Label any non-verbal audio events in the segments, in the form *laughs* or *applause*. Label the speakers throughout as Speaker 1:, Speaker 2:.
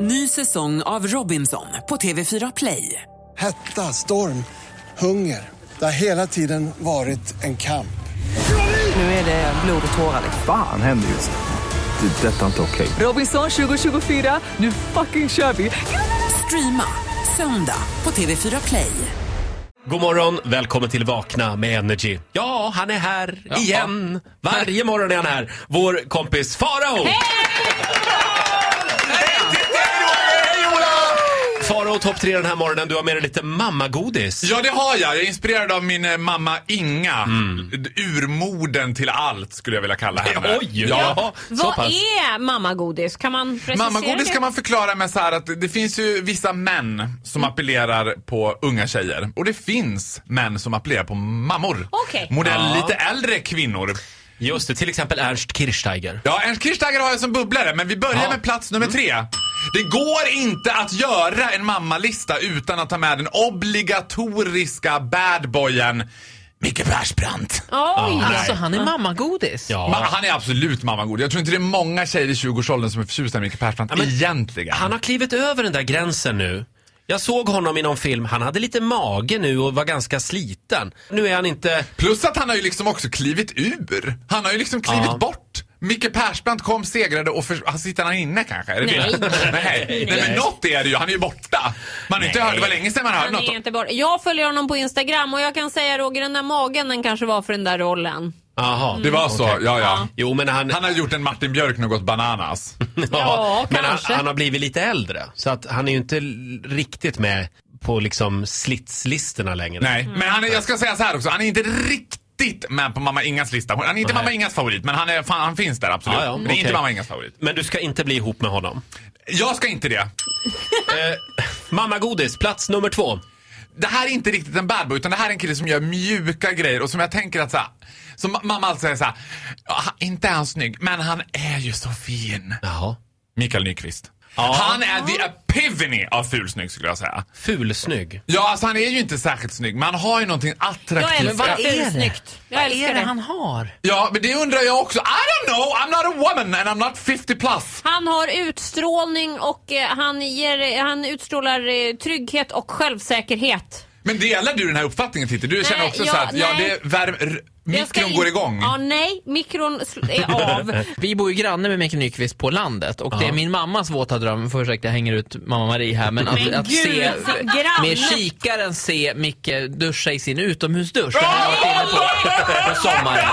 Speaker 1: Ny säsong av Robinson på TV4 Play.
Speaker 2: Hetta, storm, hunger. Det har hela tiden varit en kamp.
Speaker 1: Nu är det blod och tårar.
Speaker 3: Fan händer just nu. Det. är Detta är inte okej.
Speaker 1: Robinson 2024, nu fucking kör vi! Streama söndag på TV4 Play.
Speaker 4: God morgon, välkommen till Vakna med Energy. Ja, han är här igen. Varje morgon är han här. Vår kompis Farao! Farao topp tre den här morgonen. Du har med dig lite mammagodis.
Speaker 5: Ja, det har jag. Jag är inspirerad av min eh, mamma Inga.
Speaker 4: Mm.
Speaker 5: D- Urmoden till allt, skulle jag
Speaker 4: *laughs*
Speaker 5: vilja kalla henne.
Speaker 4: Oj!
Speaker 5: Ja.
Speaker 4: så
Speaker 6: Vad
Speaker 4: pass.
Speaker 6: är mammagodis? Kan man precisera
Speaker 5: Mammagodis
Speaker 6: det?
Speaker 5: kan man förklara med så här att det finns ju vissa män som appellerar på unga tjejer. Och det finns män som appellerar på mammor.
Speaker 6: Okej.
Speaker 5: Modell
Speaker 4: Ja.
Speaker 5: lite äldre kvinnor.
Speaker 4: Just det, till exempel Ernst Kirchsteiger.
Speaker 5: Ja, Ernst Kirchsteiger har jag som bubblare, men vi börjar
Speaker 4: Ja.
Speaker 5: med plats nummer tre. Det går inte att göra en mammalista utan att ta med den obligatoriska badboyen Micke Persbrandt.
Speaker 6: Oj!
Speaker 5: Ah,
Speaker 7: Så Alltså, han är mammagodis?
Speaker 5: Ma-
Speaker 4: Ja.
Speaker 5: han är absolut mammagod. Jag tror inte det är många tjejer i 20-årsåldern som är förtjusta i Micke Persbrandt
Speaker 4: men-
Speaker 5: egentligen.
Speaker 4: Han har klivit över den där gränsen nu. Jag såg honom i någon film. Han hade lite mage nu och var ganska sliten. Nu är han inte...
Speaker 5: Plus att han har ju liksom också klivit ur. Han har ju liksom klivit
Speaker 4: Ja.
Speaker 5: bort. Micke Persbrandt kom, segrade och för... han sitter han inne kanske? Är
Speaker 4: *laughs*
Speaker 5: det
Speaker 6: Nej.
Speaker 5: Det? Nej. Nej. Nej, men något är det ju. Han är ju borta. Man har inte hört, det var länge sedan man hörde
Speaker 6: Han
Speaker 5: något.
Speaker 6: är inte bort. Jag följer honom på Instagram och jag kan säga Roger, den där magen den kanske var för den där rollen.
Speaker 4: Jaha.
Speaker 5: Det var så,
Speaker 4: Okej.
Speaker 5: ja, ja.
Speaker 4: Jo, men Mm. han...
Speaker 5: Han har gjort en Martin Björk något bananas.
Speaker 6: Ja,
Speaker 4: men han,
Speaker 6: kanske.
Speaker 4: han har blivit lite äldre. Så att han är ju inte l- riktigt med på liksom slitslistorna längre.
Speaker 5: Nej, men han är, jag ska säga så här också. Han är inte riktigt med på mamma Ingas lista. Han är inte
Speaker 4: Nej.
Speaker 5: mamma Ingas favorit, men han, är, fan, han finns där absolut.
Speaker 4: Ja, ja,
Speaker 5: men det är
Speaker 4: okej.
Speaker 5: inte mamma Ingas favorit.
Speaker 4: Men du ska inte bli ihop med honom.
Speaker 5: Jag ska inte det.
Speaker 4: Mamma godis, plats nummer två.
Speaker 5: Det här är inte riktigt en bad boy, utan det här är en kille som gör mjuka grejer och som jag tänker att så här, som ma- mamma alltid säger så här, "Ja, han- inte är han snygg, men han är ju så fin.
Speaker 4: Jaha.
Speaker 5: Mikael Nyqvist. Han är the epivany av fulsnygg skulle jag säga.
Speaker 4: Fulsnygg.
Speaker 5: Ja, alltså han är ju inte särskilt snygg, men han har ju någonting attraktivt.
Speaker 6: Jag älskar
Speaker 7: vad är det?
Speaker 6: Snyggt. Jag
Speaker 7: Vad
Speaker 6: älskar
Speaker 7: är det
Speaker 6: det.
Speaker 7: han har?
Speaker 5: Ja, men det undrar jag också. I don't know, I'm not a woman and I'm not 50 plus.
Speaker 6: Han har utstrålning och eh, han, ger, han utstrålar eh, trygghet och självsäkerhet.
Speaker 5: Men delar du den här uppfattningen Titti? Du känner också
Speaker 6: jag-
Speaker 5: så här att ja,
Speaker 6: nej.
Speaker 5: det är värm, r-
Speaker 6: Jag ska
Speaker 5: mikron
Speaker 6: in-
Speaker 5: går igång.
Speaker 6: Ja, nej, mikron sl- är av.
Speaker 7: Vi bor ju granne med Mikael Nyqvist på landet och det är min mammas våta dröm, för ursäkta jag hänger ut mamma Marie här, men att,
Speaker 6: Men
Speaker 7: att
Speaker 6: gud,
Speaker 7: se
Speaker 6: sin granne.
Speaker 7: med kikaren se Micke duscha i sin utomhusdusch. Det här har jag varit inne på, på sommaren.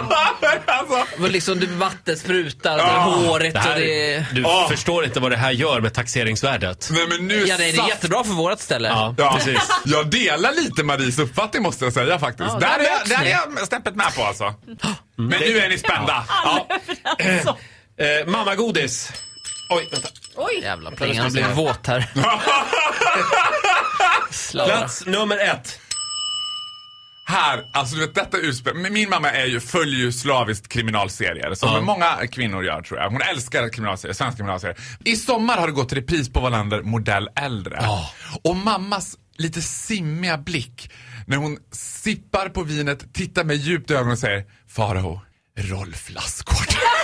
Speaker 5: *laughs* alltså,
Speaker 7: Och Liksom, det vatten sprutar och det är håret
Speaker 4: Det
Speaker 7: och
Speaker 4: här,
Speaker 7: det
Speaker 4: Du
Speaker 5: Ah.
Speaker 4: förstår inte vad det här gör med taxeringsvärdet.
Speaker 5: nej men nu
Speaker 7: Ja, nej, det är
Speaker 5: satt-
Speaker 7: jättebra för vårt ställe.
Speaker 4: Ja,
Speaker 5: Ja,
Speaker 4: precis.
Speaker 5: Jag delar lite Maries uppfattning måste jag säga faktiskt.
Speaker 7: Ja,
Speaker 5: där,
Speaker 7: där
Speaker 5: är jag,
Speaker 7: möts
Speaker 5: där
Speaker 7: ni.
Speaker 5: är jag snäppet med på alltså. Men nu är ni spända. Ja.
Speaker 4: Eh, mamma godis. Oj, vänta.
Speaker 6: Oj!
Speaker 7: Jävla pengar, han blev våt här. Slarva.
Speaker 4: Plats nummer ett.
Speaker 5: Här, alltså du vet detta utspel. men Min mamma är ju, följer ju slaviskt kriminalserier. Som
Speaker 4: Ja.
Speaker 5: många kvinnor gör tror jag. Hon älskar kriminalserier, svenska kriminalserier. I sommar har det gått repris på Wallander modell äldre.
Speaker 4: Ja.
Speaker 5: Och mammas lite simmiga blick när hon sippar på vinet, tittar mig djupt i ögonen och säger Farao, Rolf Lassgård. *laughs*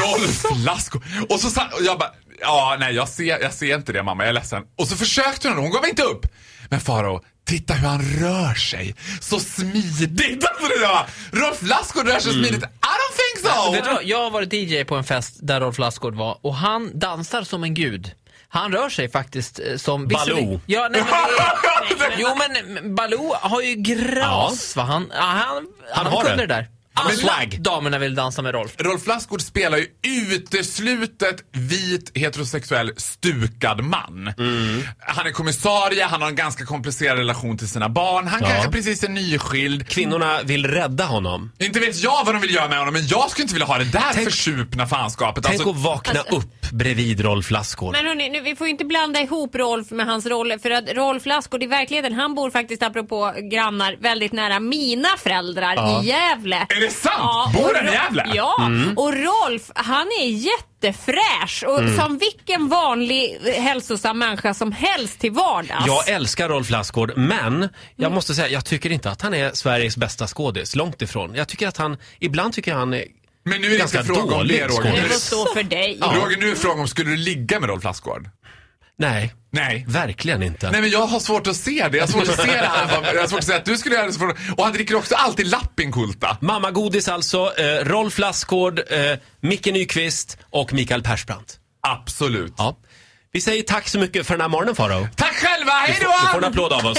Speaker 5: Rolf Lassgård. Och så sa, och jag bara, ja nej jag ser, jag ser inte det mamma, jag är ledsen. Och så försökte hon, hon gav inte upp. Men Faro, titta hur han rör sig. Så smidigt. *laughs* Alltså det där, Rolf Lassgård rör sig smidigt. I don't think *laughs*
Speaker 7: Vet du
Speaker 5: so.
Speaker 7: vad? Jag har varit DJ på en fest där Rolf Lassgård var och han dansar som en gud. Han rör sig faktiskt eh, som...
Speaker 4: Baloo.
Speaker 7: Visserligen- Ja, nej, men det är, *laughs* jo men Baloo har ju gras va? Han, ja, han, han,
Speaker 4: har
Speaker 7: kunde
Speaker 4: det.
Speaker 7: det där.
Speaker 4: Men
Speaker 7: Alla
Speaker 4: swag.
Speaker 7: damerna vill dansa med Rolf.
Speaker 5: Rolf Lassgård spelar ju uteslutet vit heterosexuell stukad man. Han är kommissarie, han har en ganska komplicerad relation till sina barn. Han kanske precis är nyskild.
Speaker 4: Kvinnorna vill rädda honom.
Speaker 5: Inte vet jag vad de vill göra med honom, men jag skulle inte vilja ha det där
Speaker 4: Tänk-
Speaker 5: försupna fanskapet.
Speaker 4: Tänk
Speaker 5: Alltså,
Speaker 4: att vakna upp bredvid Rolf Lassgård.
Speaker 6: Men hörni, nu, vi får ju inte blanda ihop Rolf med hans roller för att Rolf Lassgård i verkligheten, han bor faktiskt apropå grannar väldigt nära mina föräldrar i Gävle.
Speaker 5: Är det sant?
Speaker 6: Ja,
Speaker 5: Bor
Speaker 6: och
Speaker 5: han i
Speaker 6: Ro-
Speaker 5: Gävle? Mm.
Speaker 6: Ja, och Rolf han är jättefräsch och som vilken vanlig eh, hälsosam människa som helst till vardags.
Speaker 4: Jag älskar Rolf Lassgård, men
Speaker 5: Mm.
Speaker 4: jag måste säga, jag tycker inte att han är Sveriges bästa skådis. Långt ifrån. Jag tycker att han, ibland tycker jag han är
Speaker 5: Men nu är det
Speaker 4: Ganska
Speaker 5: inte fråga om
Speaker 4: dålig
Speaker 5: det Roger.
Speaker 4: skådis.
Speaker 5: Nu
Speaker 6: Det
Speaker 5: är
Speaker 6: får
Speaker 5: det-
Speaker 6: stå för dig.
Speaker 5: Roger, nu är frågan om skulle du ligga med Rolf Lassgård?
Speaker 4: Nej,
Speaker 5: Nej.
Speaker 4: verkligen inte.
Speaker 5: Nej men jag har svårt att se det. Jag har svårt att se det här. Jag har svårt att se att du skulle göra det. så fort- Och han dricker också alltid Lappinkulta.
Speaker 4: Mammagodis alltså, eh, Rolf Lassgård, eh, Micke Nyqvist och Mikael Persbrandt.
Speaker 5: Absolut.
Speaker 4: Ja. Vi säger tack så mycket för den här morgonen Faro.
Speaker 5: Tack själva,
Speaker 4: Du
Speaker 5: hej
Speaker 4: får, du får en
Speaker 5: då!
Speaker 4: applåd av oss.